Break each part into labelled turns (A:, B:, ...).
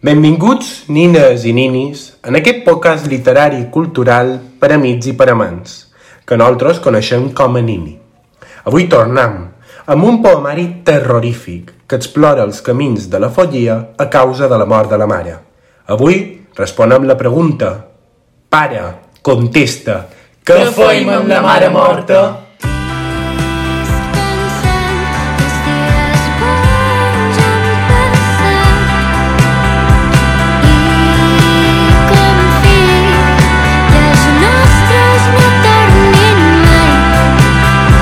A: Benvinguts, nines i ninis, en aquest podcast literari i cultural per amics i per amants, que nosaltres coneixem com a Nini. Avui tornem amb un poemari terrorífic que explora els camins de la follia a causa de la mort de la mare. Avui responem la pregunta Pare, contesta, què
B: Què feim amb la mare morta?
C: Descansan los días vayan pasar y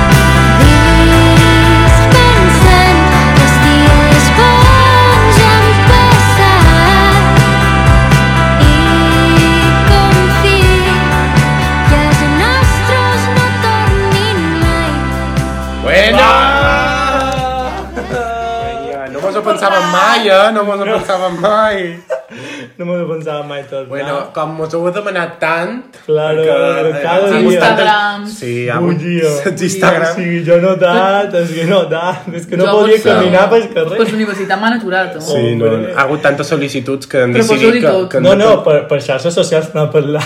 C: confío las nuestras no terminan Descansan los días vayan pasar y confío las nuestras no terminan
A: Ja, no mos ho pensàvem mai, eh? No mos ho pensàvem mai.
B: No me lo pensaba mai tot.
A: Bueno, com mos ho heu demanat tant, eh,
B: claro,
D: que-
B: cada
D: que-
B: dia.
E: Instagram.
A: Sí, amb
B: Un dia.
A: Instagram.
B: Sí, jo no tant, és que no tant, és que no
E: Jo
B: podia
E: potser-
B: caminar pel carrer.
E: Pues la universitat m'ha aturat, no?
A: Sí, no,
B: Hombre.
A: ha hagut tantes sol·licituds que han
E: Però
A: decidit
E: poso-li
A: que,
E: tot.
A: que
B: No, no, per, per xarxes socials no parlar.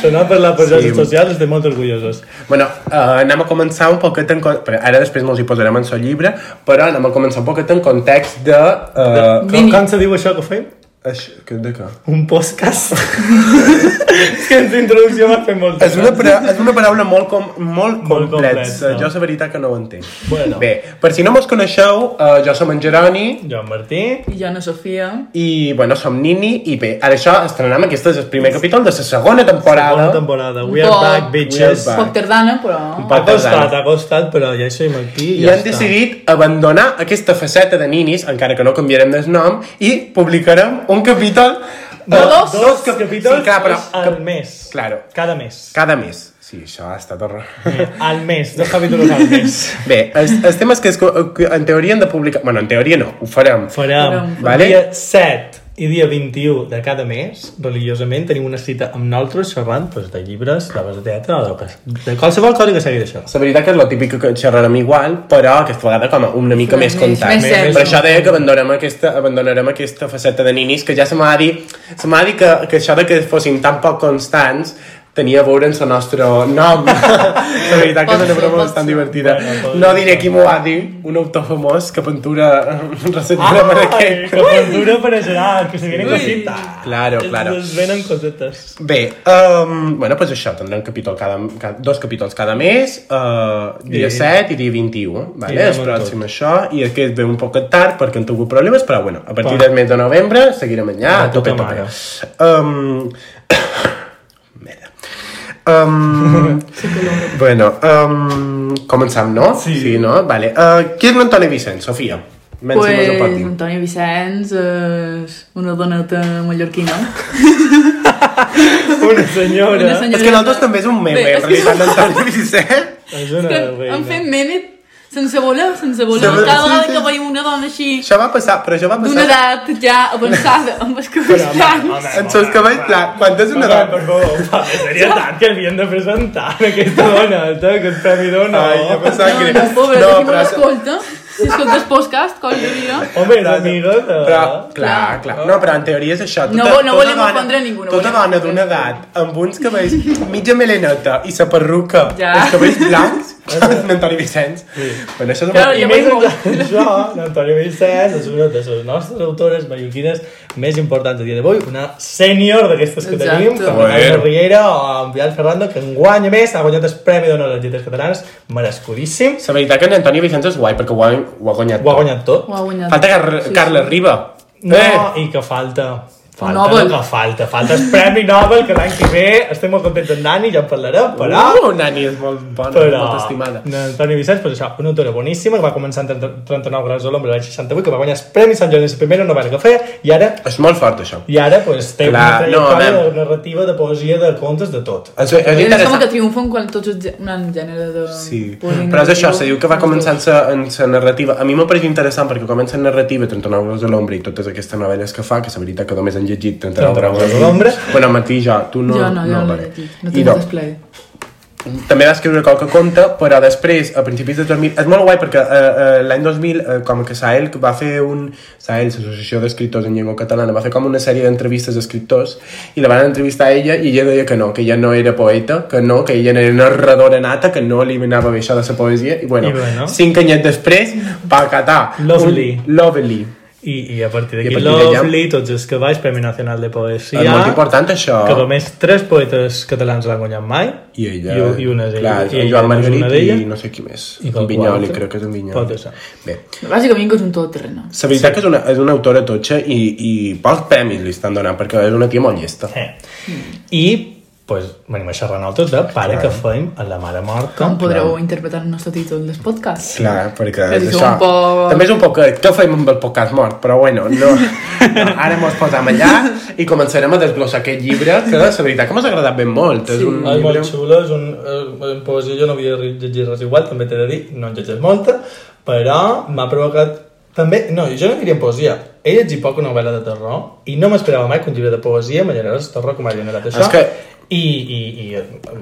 B: Se n'ha parlat per xarxes
A: Sí.
B: socials, estem molt orgullosos.
A: Bueno, uh, anem a començar un poquet en... con- Però ara després mos hi posarem en el llibre, però anem a començar un poquet en context de... Uh,
B: Com,
E: Vini.
B: com se diu això que fem?
A: això, que- de què?
B: Un podcast? és que ens introducció m'ha fet molt.
A: És una, para és una paraula molt, com, molt,
B: Molt
A: complexa.
B: complexa.
A: Jo, la veritat, que no ho entenc.
B: Bueno.
A: Bé, per si no mos coneixeu, uh, jo som en Jeroni,
B: Joan Martí.
E: I jo, Ana Sofia.
A: i, bueno, som Nini, i bé, ara això estrenem, aquest és el primer capítol de la segona temporada.
B: Bona temporada. We are
E: Bon.
B: back, bitches.
A: We are back.
E: Poc tardana, però...
B: Ha costat, ha costat, però ja hi som aquí i
A: I
B: ja
A: han
B: està.
A: decidit abandonar aquesta faceta de ninis, encara que no canviarem el nom, i publicarem un capítol...
B: No,
A: eh,
B: dos,
A: dos
B: capítols
A: Sí, clar, però...
B: al mes.
A: Claro.
B: Cada mes.
A: Cada mes. Sí, això ha estat horror.
B: Al mes, dos capítols al mes.
A: Bé, els, els temes que, es, co- que en teoria hem de publicar... Bueno, en teoria no, ho farem.
B: Farem
A: Vale.
B: dia 7 i dia 21 de cada mes, religiosament, tenim una cita amb nosaltres xerrant doncs, de llibres, d'obres de teatre, o de, que- de qualsevol cosa que segueix això.
A: La veritat que és lo típic que xerrarem igual, però aquesta vegada com a una mica
E: Però
A: més
E: més-
A: contat.
E: més
B: serio.
A: Per això deia que abandonarem aquesta, abandonarem aquesta faceta de ninis, que ja se m'ha dit, se m'ha dit que, que això de que fossin tan poc constants tenia a veure en el nostre nom. la veritat que és
E: Pot
A: una
E: ser,
A: broma
E: pot
A: bastant
E: ser.
A: divertida.
B: Bueno, pot
A: No
B: ser.
A: diré qui m'ho ha dit, un autor famós que pintura recentra per
B: Ai,
A: aquest.
B: que perdura per a Gerard, que se vienen cositas.
A: Claro, claro.
B: Es venen cosetes.
A: Bé, um, bueno, doncs això, tindrem capítol cada, cada, dos capítols cada mes, uh, dia
B: Sí.
A: 7 i dia 21, vale?
B: Ja,
A: és
B: amb
A: pròxim això, i aquest ve un poc tard perquè han tingut problemes, però bueno, a partir
B: Pa.
A: del mes de novembre seguirem allà,
B: Ah,
A: a tope,
B: tota
A: tope. Um, merda. Um, bueno, um, començam, no?
B: Sí.
A: sí no? Vale. Uh, qui és l'Antoni Vicent, Sofia? Menys
E: Pues,
A: si mos ho pot dir.
E: Antoni Vicenç és una doneta mallorquina.
B: Una senyora.
E: Una senyora-
A: És que nosaltres també és un meme,
E: Bé, és
A: en
E: que-
A: realitat, l'Antoni Vicent.
B: És
E: És
B: una
E: que
B: reina.
E: han fet meme sense voler, sense voler.
A: Sense-
E: Cada
A: sí,
E: vegada
A: sí.
E: que veiem una dona així,
A: Això va passar, però això va passar...
E: d'una edat ja avançada, amb els cabells
B: home,
E: blancs.
B: home.
A: En seus cabells, clar, quan tens una
B: Una dona, per
A: dona...
B: favor, va, seria tant que havien de presentar aquesta dona, eh, aquest premi dona.
A: Ai, ja em sap
E: No,
A: greu.
E: no, pobre,
A: No,
E: no, qui me
A: però-
E: l'escolta. Si escoltes podcast, coi, jo diria.
B: Home, és
A: Però-
B: amiga de...
A: Però, clar, clar. No, però en teoria és això.
E: No vo- no volem ofendre ningú, no
A: tota
E: volem
A: dona
E: ofendre
A: d'una edat, amb uns cabells mitja meleneta i sa perruca,
E: Ja.
A: els cabells blancs, en Antoni Vicenç. Bueno, això és
E: Claro,
A: un...
B: I
E: jo
B: més
E: vull-
B: enllà d'això, l'Antoni Vicens és una de les nostres autores mallorquines més importants a dia d'avui, una sènior d'aquestes que
E: Exacte.
B: tenim, com la
A: Joder.
B: Carme Riera o en Vidal Ferrando, que enguany a més ha guanyat el Premi d'Honor de les Lletres Catalanes, merescudíssim,
A: La veritat que en Antoni Vicenç és guai, perquè ho ha, ho ha guanyat.
B: ho ha guanyat tot.
E: Ho ha guanyat.
A: Falta que
E: Sí,
A: sí,
E: sí.
A: Carla Riba.
B: No,
A: Eh!
B: i que falta... Falta,
E: Nobel.
B: que falta, falta el Premi Nobel, que l'any que ve estem molt contents d'en Dani, ja en parlarem, però...
A: Uh, Nani és molt bona,
B: però...
A: molt estimada.
B: Antoni Vicenç, pues això, una autora boníssima, que va començar en 30 39 graus de l'ombra l'any 68, que va guanyar el Premi Sant Jordi, la primera novel·la que feia, i ara,
A: És molt fort, això.
B: i ara pues, té
A: Clar,
B: una
A: no, a
B: trajectòria
A: veure.
B: de narrativa, de poesia, de contes, de tot.
A: És, és
E: És com
A: interessant.
E: que triomfen quan tots els gè- un gènere de...
A: Sí, però és això, se diu que va començar en sa, en sa narrativa. A mi m'ha pareix interessant perquè comença en narrativa 30 novel·les de l'ombra i totes aquestes novel·les que fa, que la veritat que només han llegit 30
B: 39
A: novel·les de l'ombra. Bueno, Martí, jo, tu no...
E: jo no, jo no, no
A: vale.
E: l'he llegit, no
A: I
E: tinc no. desplay.
A: també va escriure qualque conte, però després, a principis de 2000... És molt guai perquè eh, eh, l'any 2000, eh, com que Sahel va fer un... Sahel, l'Associació d'Escriptors en Llengua Catalana, va fer com una sèrie d'entrevistes d'escriptors i la van entrevistar a ella i ella deia que no, que ella no era poeta, que no, que ella era narradora nata, que no li anava bé això de la poesia. I bueno,
B: I bueno.
A: cinc anyets després va catar.
B: Lovely.
A: Un, lovely.
B: I, i a partir
A: I
B: d'aquí
A: a partir d'allà-
B: Lovely, tots els que vaig, Premi Nacional de Poesia...
A: És molt important, això.
B: Que només tres poetes catalans l'han guanyat mai.
A: I ella...
B: I, u- i una és ella.
A: Clar,
B: I
A: el
B: ella
A: Joan
B: és una
A: Margarit
B: d'ella.
A: i no sé qui més.
B: I
A: En
B: qualcú
A: Vinyoli,
B: altre.
A: crec que és en Vinyoli.
B: Pot ser.
A: Bé.
E: Bàsicament que és un todoterreno.
A: La veritat sí. que és una, és una autora totxa i, i pocs premis li estan donant perquè és una tia molt llesta.
B: Eh. I pues, venim a xerrar nosaltres de pare que feim a la mare morta.
E: Com podreu interpretar el nostre títol del podcast?
A: Clar, perquè
E: És
A: és
E: un
A: això.
E: poc-
A: També és un poc... Què fem amb el podcast mort? Però bueno, no. no ara mos posam allà i començarem a desglossar aquest llibre que la veritat que m'ha agradat ben molt. Sí. És un
B: És
A: llibre...
B: molt xulo, és un, eh, en poesia jo no havia llegit res igual, també t'he de dir, no en llegeix molta, però m'ha provocat també, no, jo no diria en poesia, he llegit poca novel·la de terror i no m'esperava mai que un llibre de poesia me generés terror com ha generat això.
A: És que-
B: I, i, i eh,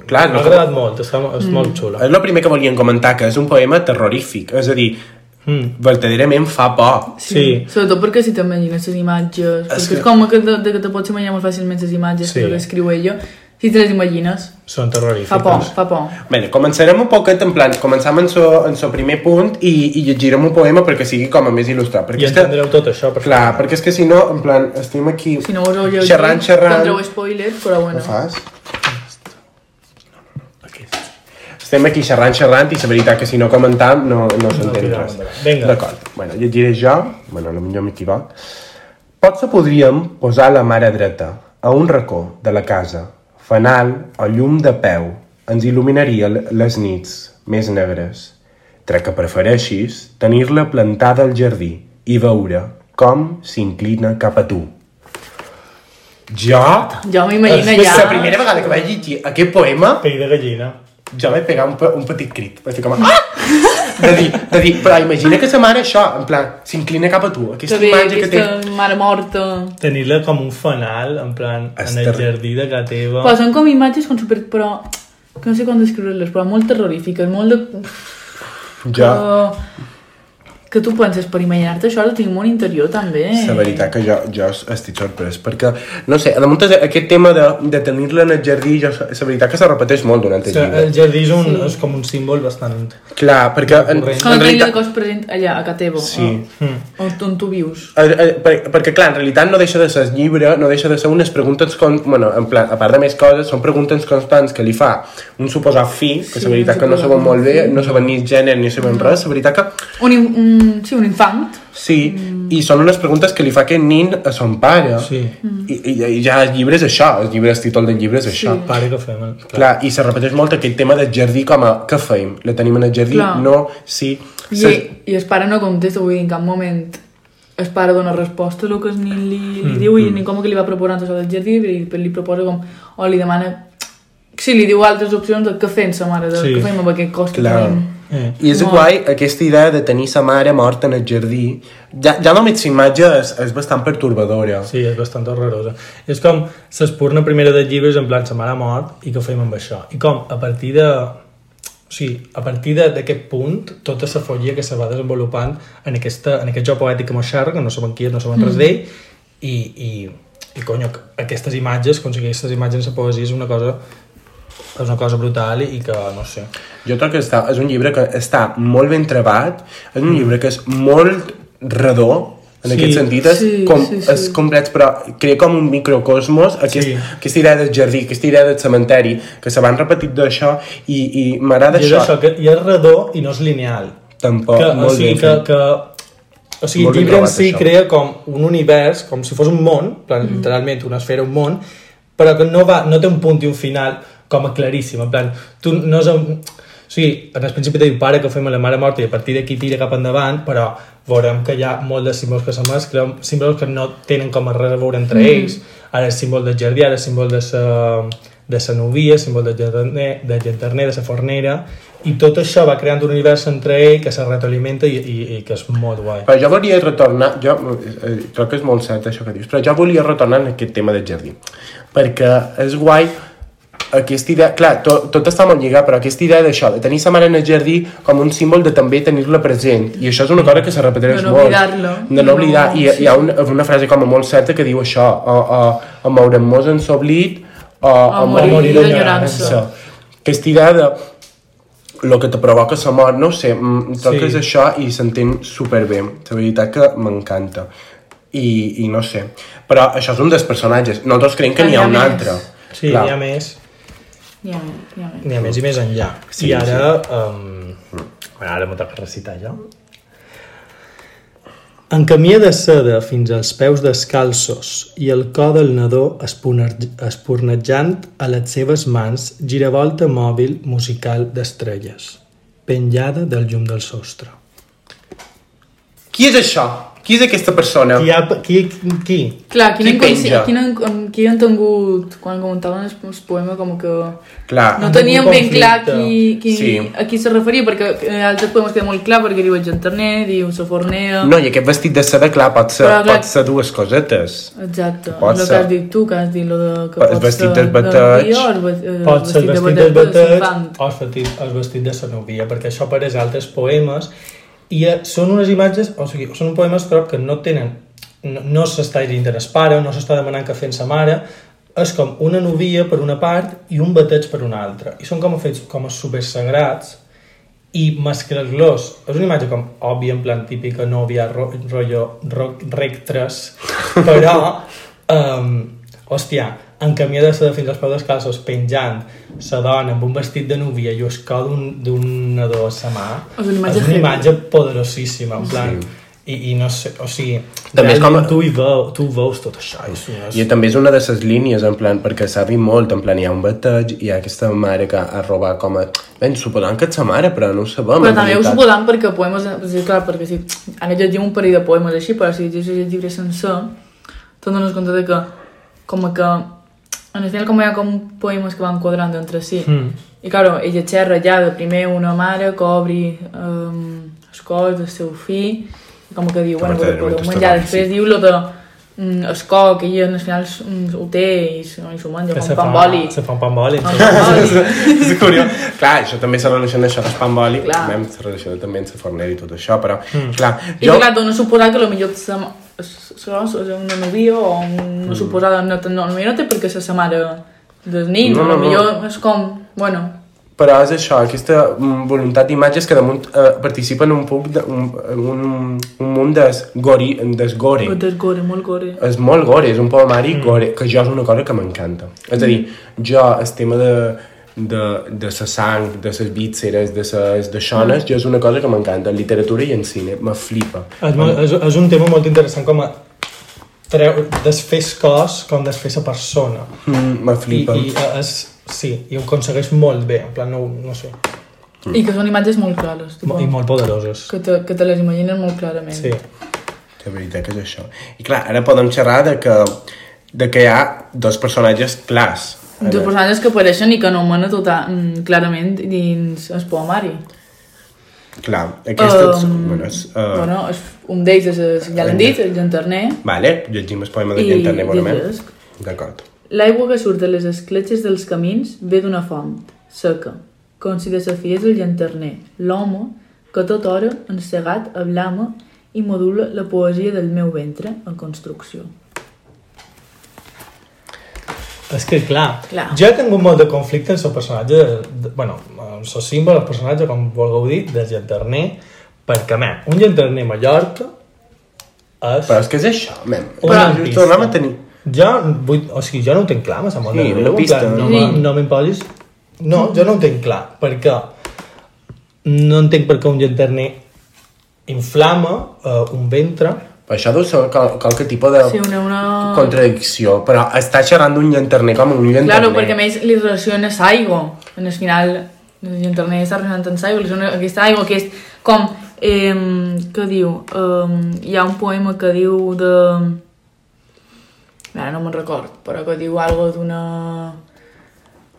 A: Clar,
B: m'ha
A: no-
B: agradat molt, és, és
E: Mm.
B: molt xulo.
A: És el primer que volien comentar, que és un poema terrorífic. És a dir, Eh.
B: Mm.
A: verdaderament fa por.
B: Sí.
E: Sobretot perquè si t'imagines les imatges, perquè
A: que-
E: és com que, de, de que te pots imaginar molt fàcilment les imatges
B: Sí.
E: sí. que escriu ella, si te les imagines,
B: Són terrorífics.
E: fa por, fa por.
A: Bé, començarem un poquet en plan, començam en so, en so primer punt i, i llegirem un poema perquè sigui com a més il·lustrat. Perquè
B: I
A: és que-
B: entendreu tot això, per
A: Clar, perquè és que si no, en plan, estem aquí...
E: Si no us ho llegit,
A: Xerrant, xerrant...
E: tindreu spoiler, però bueno.
A: Ho fas? Estem aquí xerrant, xerrant, i la veritat que si no comentam no, no s'entén
B: tirem
A: res.
B: endavant. Vinga.
A: D'acord. Bueno, llegiré jo. Bueno, potser m'equivoc. Potser podríem posar la mare dreta a un racó de la casa. Fanal o llum de peu ens il·luminaria l- les nits més negres. Tra que prefereixis tenir-la plantada al jardí i veure com s'inclina cap a tu. Jo
E: Jo m'imagino
A: és la
E: ja...
A: primera vegada que vaig llegir aquest poema,
B: Pell de gallina.
A: jo vaig pegar un, pe- un petit crit. Vaig fer com... Ah! De dir, de dir, però imagina que sa mare això, en plan, s'inclina cap a tu. Aquesta
E: Que bé,
A: imatge que té...
E: aquesta mare morta...
B: Tenir-la com un fanal, en plan, en el
A: Ester-
B: jardí de casa teva.
E: Però són com imatges com super... però... que no sé com descriure-les, però molt terrorífiques, molt de...
A: Jo,
E: Que, que tu penses, per imaginar-te això, ara tinc molt interior també.
A: la veritat que jo, jo estic sorprès, perquè, no sé, a damunt de- aquest tema de, de tenir-la en el jardí, jo, la veritat que se repeteix molt durant el
B: Sí,
A: llibre.
B: el jardí és, un, és com un símbol bastant...
A: Clar, perquè en,
E: Com
A: en
E: aquell realitat...
A: realitat...
E: que es present allà, a Catevo.
A: Sí.
E: On, on tu vius.
A: Eh, eh, per, perquè clar, en realitat no deixa de ser el llibre, no deixa de ser unes preguntes con... bueno, en plan, a part de més coses, són preguntes constants que li fa un suposat fi, que
E: Sí,
A: la veritat
E: un
A: que no
E: suposat
A: saben molt bé, no saben ni gènere ni saben res, la veritat que
E: Un, in- un, sí, un infant.
A: sí, i són unes preguntes que li fa aquest nin a son pare.
B: Sí.
A: I, i, I ja el llibre és això, el llibre, el títol del llibre és això.
B: Pare que fem... eh? el-
A: Clar, i se repeteix molt aquell tema del jardí com a què feim? La tenim en el jardí?
E: Clar.
A: No, sí.
E: I,
A: Se-
E: I el pare no contesta, vull dir, en cap moment el pare dona resposta a el que el nen li, li
A: Mm,
E: diu i el nen com que li va proposant això del jardí i li, li proposa com, o li demana sí, li diu altres opcions de què fem sa mare, de
B: Sí.
E: què fem amb aquest cos que
A: Clar.
E: tenim
B: Eh.
A: I és guai aquesta idea de tenir sa mare morta en el jardí. Ja, ja només la imatge és, és bastant pertorbadora. Sí.
B: Sí, és bastant horrorosa. És com s'espurna primera de llibres en plan sa mare ha mort i què fem amb això? I com a partir de... O sigui, a partir de- d'aquest punt, tota la follia que se va desenvolupant en, aquesta, en aquest joc poètic que mos xerra, que no saben qui és, no saben res d'ell, i, i, i conyo, aquestes imatges, aconseguir aquestes imatges en la poesia és una cosa és una cosa brutal i, i que, no sé,
A: Jo trobo que està, és un llibre que està molt ben trebat, és un llibre que és molt redó, en
B: Sí.
A: sí, aquest sentit, és,
E: Sí,
A: com,
E: sí,
A: sí,
E: sí.
A: sí. és complet, però crea com un microcosmos, aquest,
B: Sí.
A: sí. aquesta idea del jardí, aquesta idea del cementeri, que se van repetit d'això, i, i m'agrada
B: I és
A: això.
B: això, que i és redó i no és lineal.
A: Tampoc,
B: que, o
A: Oh, molt
B: sigui,
A: ben
B: que,
A: fet.
B: que, o sigui,
A: Molt
B: el
A: ben
B: llibre en
A: trobat,
B: si
A: això.
B: crea com un univers, com si fos un món, en plan, literalment una esfera, un món, però que no, va, no té un punt i un final com a claríssim, en plan, tu no és... Un... O sigui, en el principi te diu pare que fem a la mare morta i a partir d'aquí tira cap endavant, però veurem que hi ha molt de símbols que se mesclen, símbols que no tenen com a res a veure entre mm. ells, ara és símbol del jardí, ara és símbol de sa, de sa novia, símbol de llanterner, de, llanterner, de sa fornera, i tot això va creant un univers entre ell que se retroalimenta i, i, i que és molt guai.
A: Però jo volia retornar, jo eh, crec que és molt cert això que dius, però jo volia retornar en aquest tema del jardí, perquè és guai aquesta idea, clar, tot, tot està molt lligat, però aquesta idea d'això, de tenir sa mare en el jardí com un símbol de també tenir-la present, i això és una cosa que se repeteix
E: De no
A: molt.
E: oblidar-la.
A: De no oblidar
E: No,
A: I hi ha
E: sí.
A: una, una frase com a molt certa que diu això, o, o, o mourem-nos en s'oblit, o, o,
E: morir
A: morir
E: de
A: en
E: llorança.
A: llorança. Aquesta idea de el que te provoca la mort, no ho sé, mm, toques
B: Sí.
A: sí. això i s'entén superbé. La veritat que m'encanta. I, I no sé. Però això és un dels personatges. Nosaltres creiem que
E: Ah,
A: n'hi ha
E: n'hi
A: un
E: ha més.
A: altre.
B: Sí,
A: Clar.
B: n'hi ha més,
E: N'hi ha, més, n'hi ha. més.
B: n'hi ha més i més enllà.
A: Sí,
B: Sí, I ara... Um, bueno, ara m'ho toca recitar jo. En camió de seda fins als peus descalços i el cor del nadó esporne- espornejant a les seves mans giravolta mòbil musical d'estrelles, penjada del llum del sostre.
A: Qui és això? Qui és aquesta persona?
B: Qui, ha, qui, qui?
E: Clar, quin
A: Qui
E: han, consi-
A: penja?
E: quin han, qui han tingut, quan comentaven el, el poema, com que
A: Clar.
E: no
B: Han
E: teníem
B: tingut
E: ben clar qui,
B: conflicte.
E: qui,
A: Sí.
E: a qui se referia, perquè eh, altres poemes queda molt clar, perquè diu el genterner, diu la fornea...
A: No, i aquest vestit de seda, clar, pot ser,
E: Però, clar.
A: pot ser dues cosetes.
E: Exacte,
A: Pot
E: el que
A: ser.
E: has dit tu, que has dit lo de, que
A: Pot-
E: pot
A: vestit
E: ser
A: d'esbateig.
E: novia o el ve- eh,
B: Pot ser el vestit
E: d'esbateig de
B: d'esbateig
E: l'infant.
B: o el vestit, el vestit de Sanovia, perquè això apareix a altres poemes i eh, són unes imatges, o sigui, són poemes però que no tenen, no, no s'està dient el pare, no s'està demanant que fent sa mare, és com una novia per una part i un bateig per una altra. I són com a fets com a supersagrats i mesclar-los. És una imatge com òbvia, en plan típica nòvia, ro rotllo rock, rec 3, però, um, hòstia, en camió de seda fins als peus descalços, penjant, sa dona amb un vestit de núvia i us cau d'un d'un nadó a sa mà,
E: És una imatge
B: és una
E: heavy.
B: imatge poderosíssima, en plan... Sí. I, i no sé, o sigui,
A: També és
B: realment
A: com-
B: tu, hi veu, tu veus tot això. I, és,
A: I també és una de les línies, en plan, perquè s'ha dit molt, en plan, hi ha un bateig, hi ha aquesta mare que ha robat com a... Ben, suposant que és sa mare, però no ho sabem.
E: Però
A: en
E: també ho
A: realitat.
E: suposant perquè poemes... O sigui, clar, perquè si han llegit un parell de poemes així, però si llegeixes el llibre sencer, te'n dones compte de que com que en el final com hi ha com poemes que van quadrant entre si.
B: Hmm.
E: Mm. I claro, ella xerra ja de primer una mare que obri um, els cos del seu fill i com que diu, bueno, que
A: verdaderament
E: podeu
A: està
E: menjar.
A: bé,
E: Després diu lo de mm, el cor, que ella al final mm, ho té i s- i s'ho menja, com pan boli.
B: Se fa un pan boli.
E: Com pan boli.
A: és curiós. Clar, això també se relaciona això d'espam boli,
E: Clar.
A: també se relaciona també amb la fornera i tot això, però, mm. clar,
E: I jo... clar, dona a suposar que potser sa, serà una novia o una mm. suposada no, no, no, no té per què ser sa mare dels nins,
A: No,
E: no,
A: no,
E: no,
A: no.
E: millor és com, bueno,
A: però és això, aquesta mm, voluntat d'imatges que damunt eh, participen un puc de, un, un, un munt des, gori, des gore.
E: però és gore, molt eh? gore.
A: És molt gore, és un poemari mm. gore, que jo és una cosa que m'encanta. És a dir, jo, el tema de, de, de sa sang, de ses vísceres, de ses deixones, mm. jo és una cosa que m'encanta, en literatura i en cine, me flipa.
B: És, molt- és, és un tema molt interessant com a treu, desfer el cos com desfer la persona.
A: Mm, me
B: I,
A: flipa.
B: i eh, és, sí, i ho aconsegueix molt bé, en plan, no, no sé,
E: Mm. I que són imatges molt clares,
B: mo-
E: tipo,
B: i molt poderoses.
E: que, te, que te les imaginen molt clarament.
B: Sí.
A: La veritat que és això. I clar, ara podem xerrar de que, de que hi ha dos personatges clars.
E: Dos personatges que apareixen i que no mena tota, mm, clarament dins el poemari.
A: Clar, aquestes... Um,
E: Em,
A: bueno, és, uh, bueno.
E: bueno, és, un d'ells és, el- ja l'hem dit, el Genterner,
A: Vale, llegim el poema de
E: I
A: Quintana, bonament.
E: llegesc.
A: D'acord.
E: L'aigua que surt de les escletxes dels camins ve d'una font, seca, com si desafiés el llanterner, l'home que tot hora, encegat, ablama i modula la poesia del meu ventre en construcció.
B: És que, clar,
E: Clar.
B: jo he tingut molt de conflicte amb el personatge, de, de, bueno, amb el símbol, el personatge, com vulgueu dir, de Genterner, perquè, man, un Genterner a Mallorca és...
A: Però és que és això, mem.
B: Una
A: Però,
B: pista.
A: tornem a tenir...
B: Jo, vull, o sigui, jo no ho tinc clar, m'ha semblat
A: Sí,
B: de
A: una
B: greu,
A: pista,
B: en plan,
A: no?
B: no, me- no m'imposis. No, jo no ho tinc clar, perquè no entenc per què un llanterner inflama eh, un ventre.
A: Però això deu ser qual, qualque tipus de
E: Sí, una- una-
A: contradicció, però està xerrant d'un llanterner com un llanterner.
E: Claro, perquè a més li relaciona l'aigua. En el final, el llanterner està relacionant amb l'aigua, li sona aquesta aigua que és com... Eh, què diu? Eh, hi ha un poema que diu de... Ara no me'n record, però que diu algo d'una...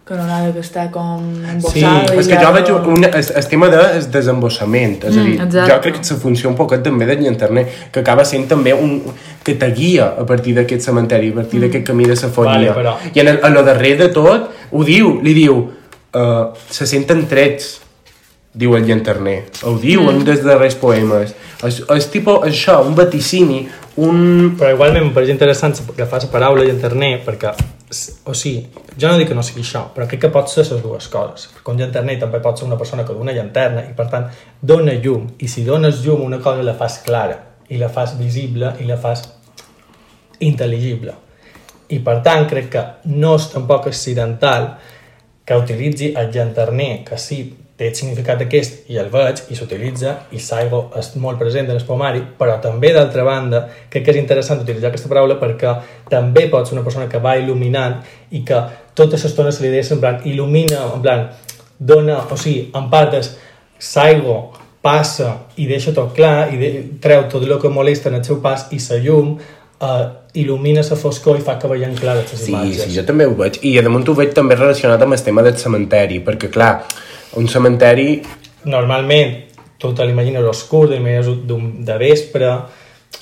E: canonada que està com
B: Sí,
E: embossada. i
A: És que jo
E: ara-
A: veig un, el, el tema de el desembossament, és a dir,
E: exacte.
A: jo crec que la funció un poquet també del llanterner, que acaba sent també un... que te guia a partir d'aquest cementeri, a partir d'aquest camí de la fonia.
B: Vale, però-
A: I en el, a lo darrer de tot, ho diu, li diu, uh, se senten trets, diu el llanterner. Ho diu mm. en un dels darrers poemes. És, és tipus això, un vaticini, un...
B: Però igualment em pareix interessant agafar la paraula i internet perquè, s- o sigui, jo no dic que no sigui això, però crec que pot ser les dues coses. Perquè un llanterner també pot ser una persona que dona llanterna i, per tant, dona llum. I si dones llum a una cosa la fas clara i la fas visible i la fas intel·ligible. I, per tant, crec que no és tampoc accidental que utilitzi el llanterner, que sí, té el significat aquest i el veig i s'utilitza i Saigo és molt present en el pomari, però també d'altra banda crec que és interessant utilitzar aquesta paraula perquè també pot ser una persona que va il·luminant i que tota l'estona se li deia en plan il·lumina, en plan dona, o sigui, en part és Saigo passa i deixa tot clar i de, treu tot el que molesta en el seu pas i sa llum eh, il·lumina sa foscor i fa que veiem clar les
A: Sí,
B: imatges.
A: sí, jo també ho veig. I damunt ho veig també relacionat amb el tema del cementeri, perquè clar, un cementeri
B: normalment tu te l'imagines obscur, te l'imagines d'un- de vespre,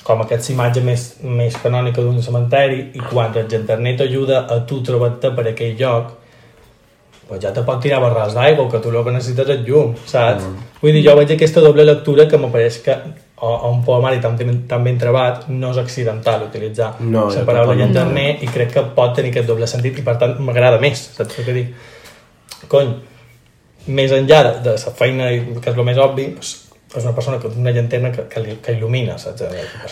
B: com aquesta imatge més, més canònica d'un cementeri, i quan el internet ajuda a tu trobar-te per aquell lloc, pues ja te pot tirar barrals d'aigua, que tu el que necessites és llum, saps? Mm. Vull dir, jo veig aquesta doble lectura que m'apareix que a, a un poemari tan, ben- tan ben trebat no és accidental utilitzar
A: No,
B: la
A: jo
B: paraula
A: tampoc.
B: llanterner i crec que pot tenir aquest doble sentit i per tant m'agrada més, saps què dic? Cony, més enllà de, de la feina, i- que és el més obvi, doncs, és una persona que una llanterna que, que, li- que il·lumina, saps?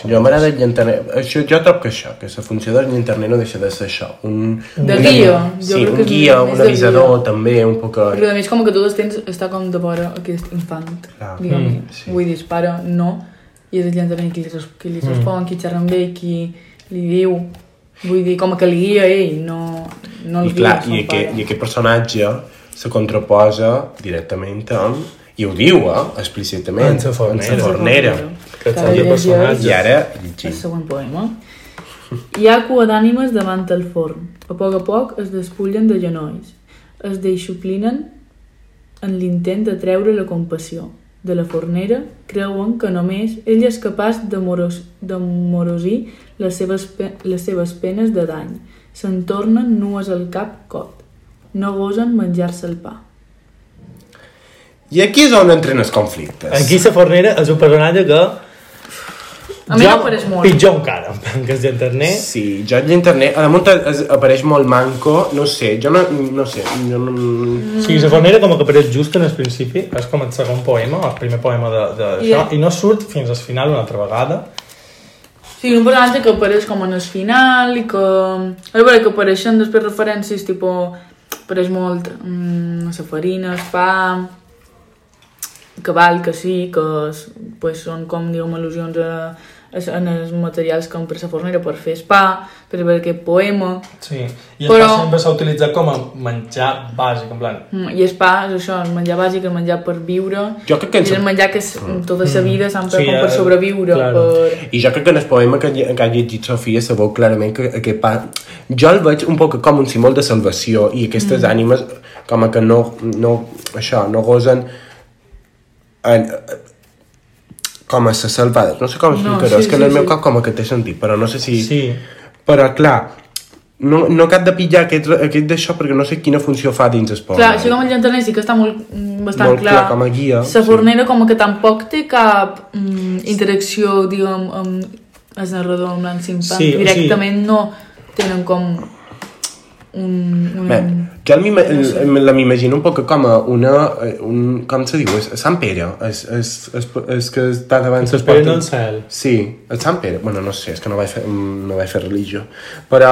A: Jo m'agrada el llanterner. Això, jo trob que això, que la funció del llanterner no deixa de ser això. Un,
E: De
A: un-
E: guia. Jo
A: Sí,
E: crec
A: un
E: que és
A: guia,
E: més
A: un
E: de
A: avisador
E: guia.
A: també, un poc...
E: Perquè a més com que tu els tens està com de vora aquest infant,
A: Clar.
E: diguem
B: Mm,
E: sí. Vull dir, el pare no, i és el llançament qui li, res- qui
B: Mm.
E: li respon, qui xerra amb ell, qui li diu... Vull dir, com que li guia ell, no, no el
A: I clar,
E: guia,
A: i,
E: son pare.
A: aquest, i aquest personatge se contraposa directament amb... I ho diu, eh? Explícitament.
B: En sa fornera.
A: En sa fornera.
B: Que ets
E: Cada
B: el
E: dia
B: personatge.
E: jo-
A: I ara,
E: El
A: llegim.
E: següent poema. Hi ha cua d'ànimes davant el forn. A poc a poc es despullen de genolls. Es deixuplinen en l'intent de treure la compassió. De la fornera creuen que només ell és capaç de moros, d'amorosir les, seves pe- les seves penes de dany. Se'n tornen nues al cap cot. No gosen menjar-se el pa.
A: I aquí és on entren els conflictes.
B: Aquí la fornera és un personatge que...
E: A mi m'apareix molt.
B: Pitjor encara, que és llanterner.
A: Sí, jo el llanterner... A damunt es- apareix molt manco, no sé, jo no, no sé, jo no,
E: Mm.
B: Sí, la fornera com que apareix just en el principi, és com el segon poema, el primer poema d'això, de, de, yeah.
E: Ja.
B: i no surt fins al final una altra vegada.
E: Sí, un personatge que apareix com en el final i que... A veure, que apareixen després referències, tipo... Apareix molt mm, la farina, el pa... Que val, que sí, que és- pues, són com, diguem, al·lusions a, a, en els materials que empra la fornera per fer el pa, per veure aquest poema...
B: Sí, i
E: Però-
B: Però... sempre s'ha utilitzat com a menjar bàsic, en plan,
E: Mm, I el pa és això, el menjar bàsic, el menjar per viure...
A: Jo crec que ens- Mm.
E: És el menjar que és, tota la vida s'ha emprat
B: Sí,
E: com
B: eh,
E: per sobreviure,
B: claro.
E: per...
A: I jo crec que en el poema que, lle- que ha llegit Sofia se veu clarament que aquest pa... Jo el veig un poc com un símbol de salvació i aquestes mm. ànimes com a que no, no, això, no gosen en, com a ser salvades. No sé com explicar-ho,
E: sí,
A: és que
E: sí,
A: en el meu
E: sí.
A: cap com a que té sentit, però no sé si...
B: Sí.
A: Però clar, no, no cap de pillar aquest, aquest d'això perquè no sé quina funció fa dins el poema.
E: Clar, això com el llanterner sí que està molt, mm, bastant
A: Molt clar, com a guia,
E: La fornera com que tampoc té cap mm, interacció, diguem, amb el narrador, amb l'encimpant.
B: Sí, o sigui-
E: Directament no tenen com un... un...
A: Bé, jo el m'ima- el- me la m'imagino un poc com a una... eh, Un, com se diu? És, és Sant Pere. És, és, és, és que està davant...
B: Sant
A: les
B: Pere
A: portes.
B: del cel.
A: Sí, el Sant Pere. Bueno, no sé, és que no vaig fer, no vaig fer religió. Però...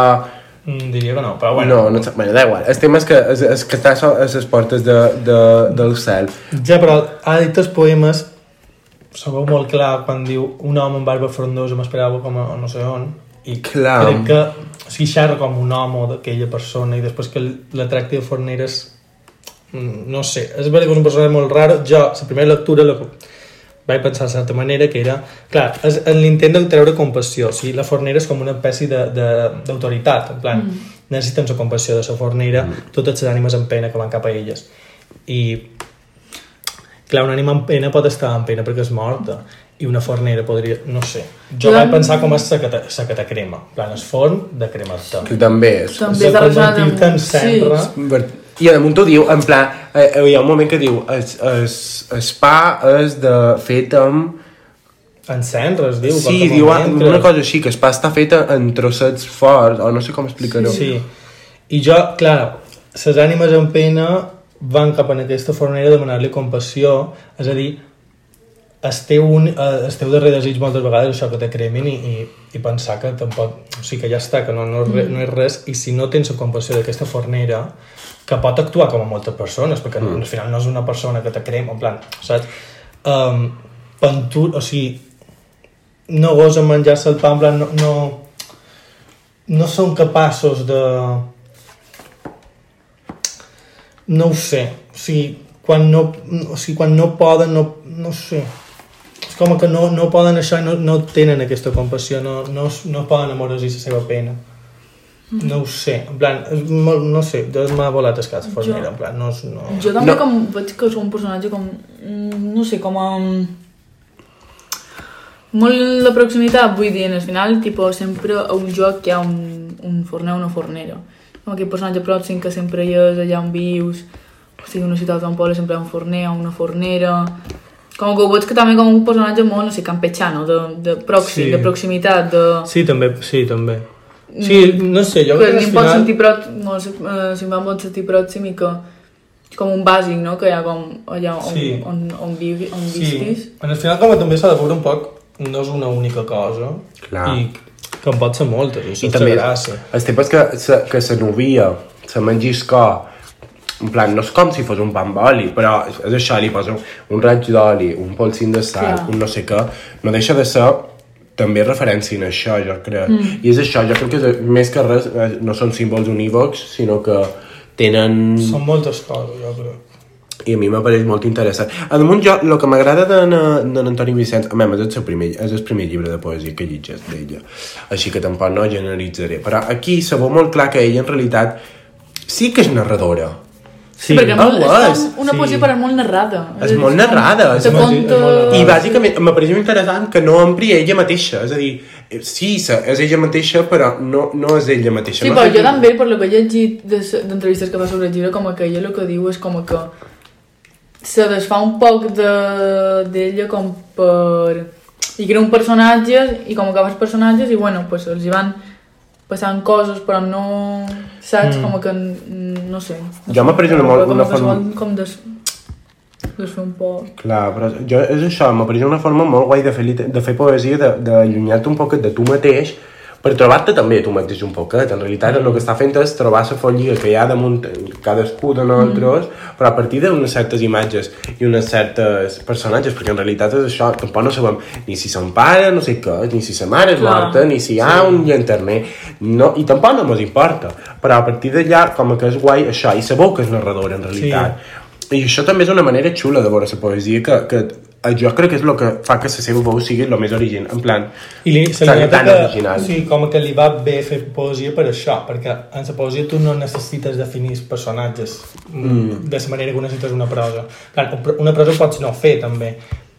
B: mm, diria que no, però bueno.
A: Bueno, no, no, sé, bueno, da igual. El tema és que, és, és que està so- a les portes de, de, del cel.
B: Ja, però ha dit els poemes se veu molt clar quan diu un home amb barba frondosa m'esperava com a no sé on i
A: Clar.
B: crec que o sigui, xerra com un home d'aquella persona i després que la tracti de forneres mm, no sé, és veritat que és un personatge molt raro jo, la primera lectura la, vaig pensar de certa manera que era clar, és en l'intent de treure compassió o sigui, la fornera és com una espècie de- de- d'autoritat en plan, mm. necessiten la compassió de la fornera, mm. totes les ànimes en pena que van cap a elles. I, clar, una ànima en pena pot estar en pena perquè és morta, i una fornera podria... no sé. Jo
E: Jo-
B: vaig pensar com és la que te- la que te crema, en plan, el forn de cremar-te.
A: Que també és...
E: També
B: Se
E: està relacionat
B: convertir-te en cendra.
E: Sí.
A: Ver- I a damunt ho diu, en pla, eh, eh, hi ha un moment que diu es, es, es pa és de, fet amb...
B: Encendre, es diu.
A: sí,
B: qualsevol
A: diu "Ah,
B: mentre.
A: una cosa així, que es pa està feta en trossets forts, o no sé com explicar-ho.
B: Sí. I jo, clar, les ànimes en pena van cap en aquesta fornera a demanar-li compassió, és a dir, esteu, un, eh, esteu darrer desig moltes vegades això que te cremin i, i, i pensar que tampoc, o sigui que ja està, que no, no, és re, no és res i si no tens la compassió d'aquesta fornera que pot actuar com a moltes persones perquè mm. al final no és una persona que te crema en plan, saps? Um, pentur, o sigui no gosen menjar-se el pa en plan, no, no, no són capaços de... No ho sé. O sigui, quan no, o sigui, quan no poden, no, no ho sé. És com que no, no poden això i no, no tenen aquesta compassió, no, no, es- no poden amorosir la seva pena.
E: Mm-hmm.
B: No ho sé, en plan, és molt, no sé, ja m'ha volat el cas, Fornera, en plan, no, és- no...
E: Jo també
A: No.
E: no. com veig que és un personatge com... mm, No sé, com a... Molt de proximitat, vull dir, en el final, tipo, sempre a un joc hi ha un, un forner o una fornera. Com aquest personatge pròxim que sempre hi és allà on vius, o sigui, una ciutat o un poble sempre hi ha un forner o una fornera... Com que ho veig que també com un personatge molt, no sé, campechano, de, de pròxim,
B: Sí.
E: sí. de proximitat, de...
B: Sí, també, sí, també. Sí, no sé, jo
E: que
B: crec que al
E: li Mm. pot
B: final...
E: sentir pròxim, no, si, eh, si em va molt sentir pròxim i que com un bàsic, no? Que hi ha com allà on,
B: Sí.
E: sí. on, on, vivi, on visquis.
B: Sí, en el final com que també s'ha de veure un poc, no és una única cosa,
A: Clar.
B: i que en pot ser moltes, i això
A: I
B: és
A: també
B: la gràcia.
A: el temps que, se, que se novia, se mengis cor, en plan, no és com si fos un pan d'oli, però és és això, li posa un, un raig d'oli, un polsim de sal,
E: Clar.
A: un no sé què, no deixa de ser també referència en això, jo crec. Mm. I és això, jo crec que és- més que res eh, no són símbols unívocs, sinó que tenen...
B: Són moltes coses, jo crec.
A: I a mi m'apareix molt interessant. A damunt jo, el que m'agrada de na- de l'Antoni Vicenç, a més, és el, seu primer, és el primer llibre de poesia que llegeix d'ella, així que tampoc no generalitzaré. Però aquí se veu molt clar que ella, en realitat, sí que és narradora.
B: Sí,
E: Perquè
A: Ah,
E: molt,
A: ho
E: és
A: és.
E: com una
B: Sí.
E: poesia però molt narrada.
A: És
E: a dir,
A: molt narrada, és
E: Te
A: molt-
E: conta...
B: és molt-
A: I bàsicament m'apareix molt interessant que no amplia ella mateixa, és a dir, eh, sí, se- és ella mateixa, però no, no és ella mateixa.
E: Sí,
A: M'ha
E: però
A: fet
E: jo
A: un-
E: també, per lo que he llegit de s- d'entrevistes que fa sobre el llibre, com que ella el que diu és com que se desfà un poc de- d'ella com per... I crea un personatge, i com que els personatges, i bueno, pues els hi van passant coses, però no... Saps? Mm. Com que... n- no sé.
A: Jo m'apareix una molt-
E: Com
A: una
E: que es
A: forma-
E: vol Com des... desfer un poc...
A: Clar, però jo, és això, m'apareix una forma molt guai de fer, lit- de fer poesia, de- d'allunyar-te un poquet de tu mateix, per trobar-te també tu mateix un poquet. En realitat el que està fent és trobar la follia que hi ha damunt cadascú de nosaltres, mm. però a partir d'unes certes imatges i unes certes personatges, perquè en realitat és això, tampoc no sabem ni si son pare, no sé què, ni si sa mare és
E: Clar.
A: morta, ni si hi ha un llanterner, no, i tampoc no mos importa. Però a partir d'allà, com que és guai això, i sabeu que és narradora en realitat, i això també és una manera xula de veure la poesia que, que eh, jo crec que és el que fa que la seva veu sigui el més original. En plan,
B: I li, se
A: Clar, i
B: li nota
A: tant
B: que,
A: original.
B: sí, com que li va bé fer poesia per això, perquè en la poesia tu no necessites definir els personatges mm. de la manera que necessites una prosa. Clar, un pro- una prosa ho pots no fer, també,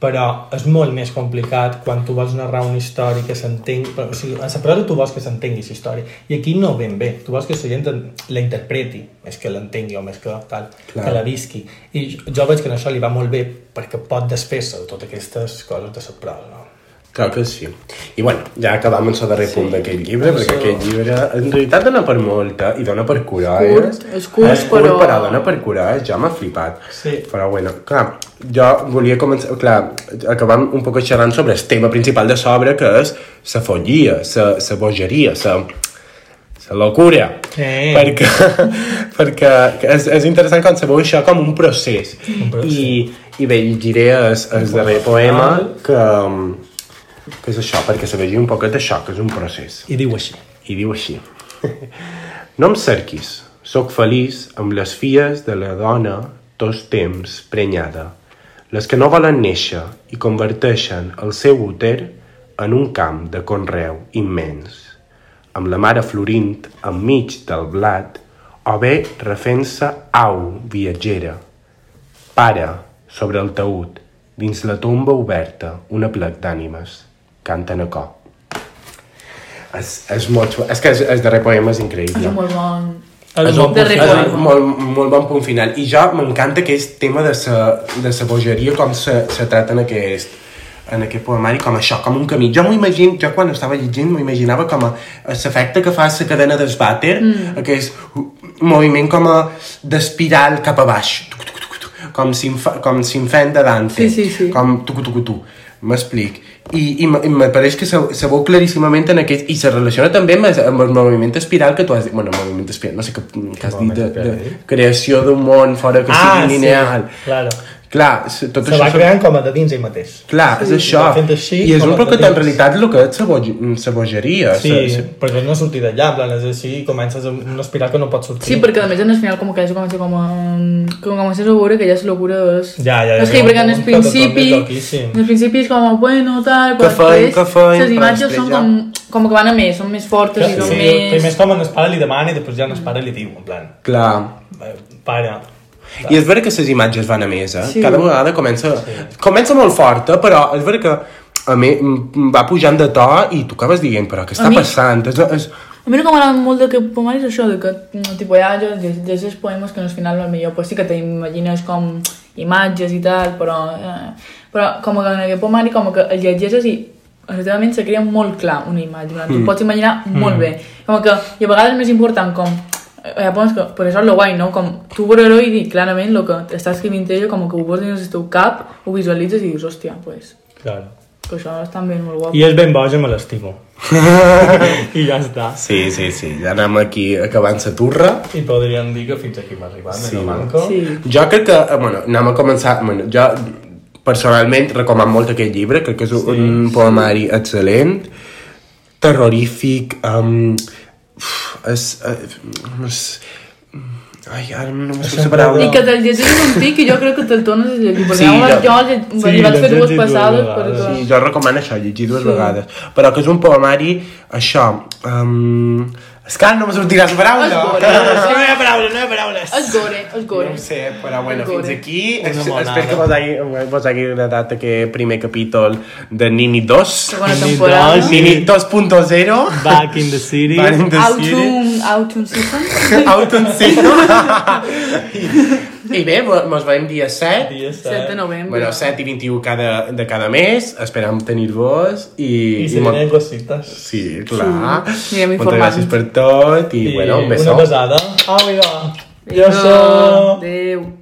B: però és molt més complicat quan tu vols narrar una història que s'entengui... però, O sigui, en la prosa tu vols que s'entengui la història, i aquí no ben bé. Tu vols que la gent en- la interpreti, més que l'entengui o més que tal,
A: Clar.
B: Clar. que la visqui. I jo, jo veig que en això li va molt bé perquè pot desfer-se de totes aquestes coses de la prosa. No?
A: clar que sí. I bueno, ja acabam amb el darrer sí. punt d'aquest llibre,
B: Això.
A: perquè aquest llibre en realitat dona per molta i dona per curar.
E: Curt, és curt,
A: és curt però...
E: però-
A: però dona per curar, ja m'ha flipat.
B: Sí.
A: Però bueno, clar, jo volia començar, clar, acabam un poc xerrant sobre el tema principal de l'obra, que és la follia, la bogeria, la... la locura.
B: Eh.
A: Per perquè, perquè és, és interessant concebeu això com un procés. I, i bé, llegiré el, el darrer poema que, um, que és això, perquè se vegi un poquet això, que és un procés.
B: I diu així.
A: I diu així. No em cerquis, sóc feliç amb les fies de la dona tots temps prenyada, les que no volen néixer i converteixen el seu úter en un camp de conreu immens. amb la mare florint enmig del blat, o bé refent-se au, viatgera. Para, sobre el taüt, dins la tomba oberta, una plec d'ànimes. Canten a cor. És, és molt... xu- És que el darrer poema és
E: És
A: increïble.
E: un molt bon...
B: El
A: És
B: món
A: un,
E: de
B: perfecte.
A: és
E: record.
A: un molt, molt bon punt final. I jo m'encanta aquest tema de sa, de sa bogeria, com se, se trata en aquest, en aquest poemari, com això, com un camí. Jo m'ho imagino, jo quan estava llegint m'ho imaginava com a l'efecte que fa la cadena d'esbàter, mm. aquest moviment com a d'espiral cap a baix, tuc, tuc, tuc, tuc, com s'inf- com s'infent de Dante,
E: Sí, sí, sí.
A: com tu, tu, tu, tu. M'explic. I, i m- i me pareix que se, se veu claríssimament en aquest... I se relaciona també amb, es- amb el moviment espiral que tu has dit... Bueno, el moviment espiral, no sé què que has dit de, de creació d'un món fora que
B: Ah,
A: sigui
B: sí,
A: lineal.
B: claro.
A: Clar, se- tot
B: Se va
A: això...
B: creant com a de dins ell mateix.
A: Clar, és això.
B: va fent així
A: I és un
B: com el
A: poquet en
B: temps.
A: realitat el que és sa, boj, sa bogeria.
B: Sí,
A: sa- sa-
B: però no sortir d'allà, en plan, és així, comences amb una espiral que no pots sortir.
E: Sí, perquè a més en el final com que ella comença com a... mm, Com comences a veure que ja és locura és...
B: Ja, ja, ja,
E: és que
B: ja,
E: perquè en
B: un
E: el
B: protocol
E: principi...
B: més loquíssim.
E: En el principi és com, bueno, tal...
A: Que feim, que feim,
E: Les
A: però
E: imatges
A: després
E: són
A: ja-
E: com, com que van a més, són més fortes i
B: sí,
E: són
B: sí, més...
E: més...
B: més com en el pare li demana i després ja en el pare li diu, en plan,
A: Clar.
B: eh, pare,
A: I és vera que les imatges van a més, eh?
E: Sí.
A: Cada vegada comença... Comença molt forta, però és vera que a mi m- va pujant de to i tu acabes dient, però què està
E: mi-
A: passant? És, és,
E: A mi no que m'agrada molt d'aquest poemari és això, de que, mm, tipus, ja jo llegeixes poemes que al final al millor pues, sí que t'imagines com imatges i tal, però, eh, però com que en aquest poemari com que el llegeixes i efectivament se crea molt clar una imatge, mm. tu pots imaginar molt bé. Com que, i a vegades és més important com eh, hi ha poemes que, per això és lo guai, no? Com tu veure-ho i dir clarament el que està escrivint ella, com que ho veus dins el teu cap, ho visualitzes i dius, hòstia, pues,
B: claro.
E: que això és també molt guapo.
B: I és ben boja, me l'estimo. I ja està.
A: Sí, sí, sí, ja anem aquí acabant la turra.
B: I podríem dir que fins aquí va arribar, sí. no manco.
E: Sí.
A: Jo crec que, eh, bueno, anem a començar... Bueno, jo personalment recomano molt aquest llibre, crec que és un sí, poemari sí. excel·lent, terrorífic, um, és, uh, és, ai, ara no m'ho sé
E: I
A: paraula.
E: que te'l llegeixis un tic i jo crec que te'l tornes a llegir,
A: Sí,
E: perquè sí, jo,
A: jo-
E: jo lle-
B: sí,
E: li vaig
B: l'he
E: fer dues
B: llegit dues
E: passades
B: vegades.
E: perquè...
A: Sí, jo recomano això, llegir dues sí. vegades. Però que és un poemari, això... Um, és que ara no me sortirà la
E: És
A: paraula.
E: gore,
B: No hi ha paraules, no hi ha paraules.
E: és gore, és gore.
A: No ho sé, però bueno,
E: Gore.
A: fins aquí.
B: Una
A: Es-
B: monada.
A: Espero que vos hagi, vos hagi agradat aquest primer capítol de Nini 2.
E: Segona
B: Ni
E: temporada.
B: dos,
A: Nini 2.0.
B: Back in the city.
A: Van in the city.
E: Autumn, autumn season.
A: Autumn season. I bé, mo- mos veiem dia 7.
B: Dia set.
E: 7 de novembre.
A: Bueno, 7 i 21 cada, de cada mes. Esperam tenir-vos. I,
B: I si
A: i mo-
B: tenen cosites.
A: Sí, clar.
E: Sí,
A: Moltes
E: anirem informant.
A: gràcies per tot i, bueno, un
B: una
A: besó.
B: besada. Ah, mira. Jo
E: Vinga,
B: sóc...
E: Adéu.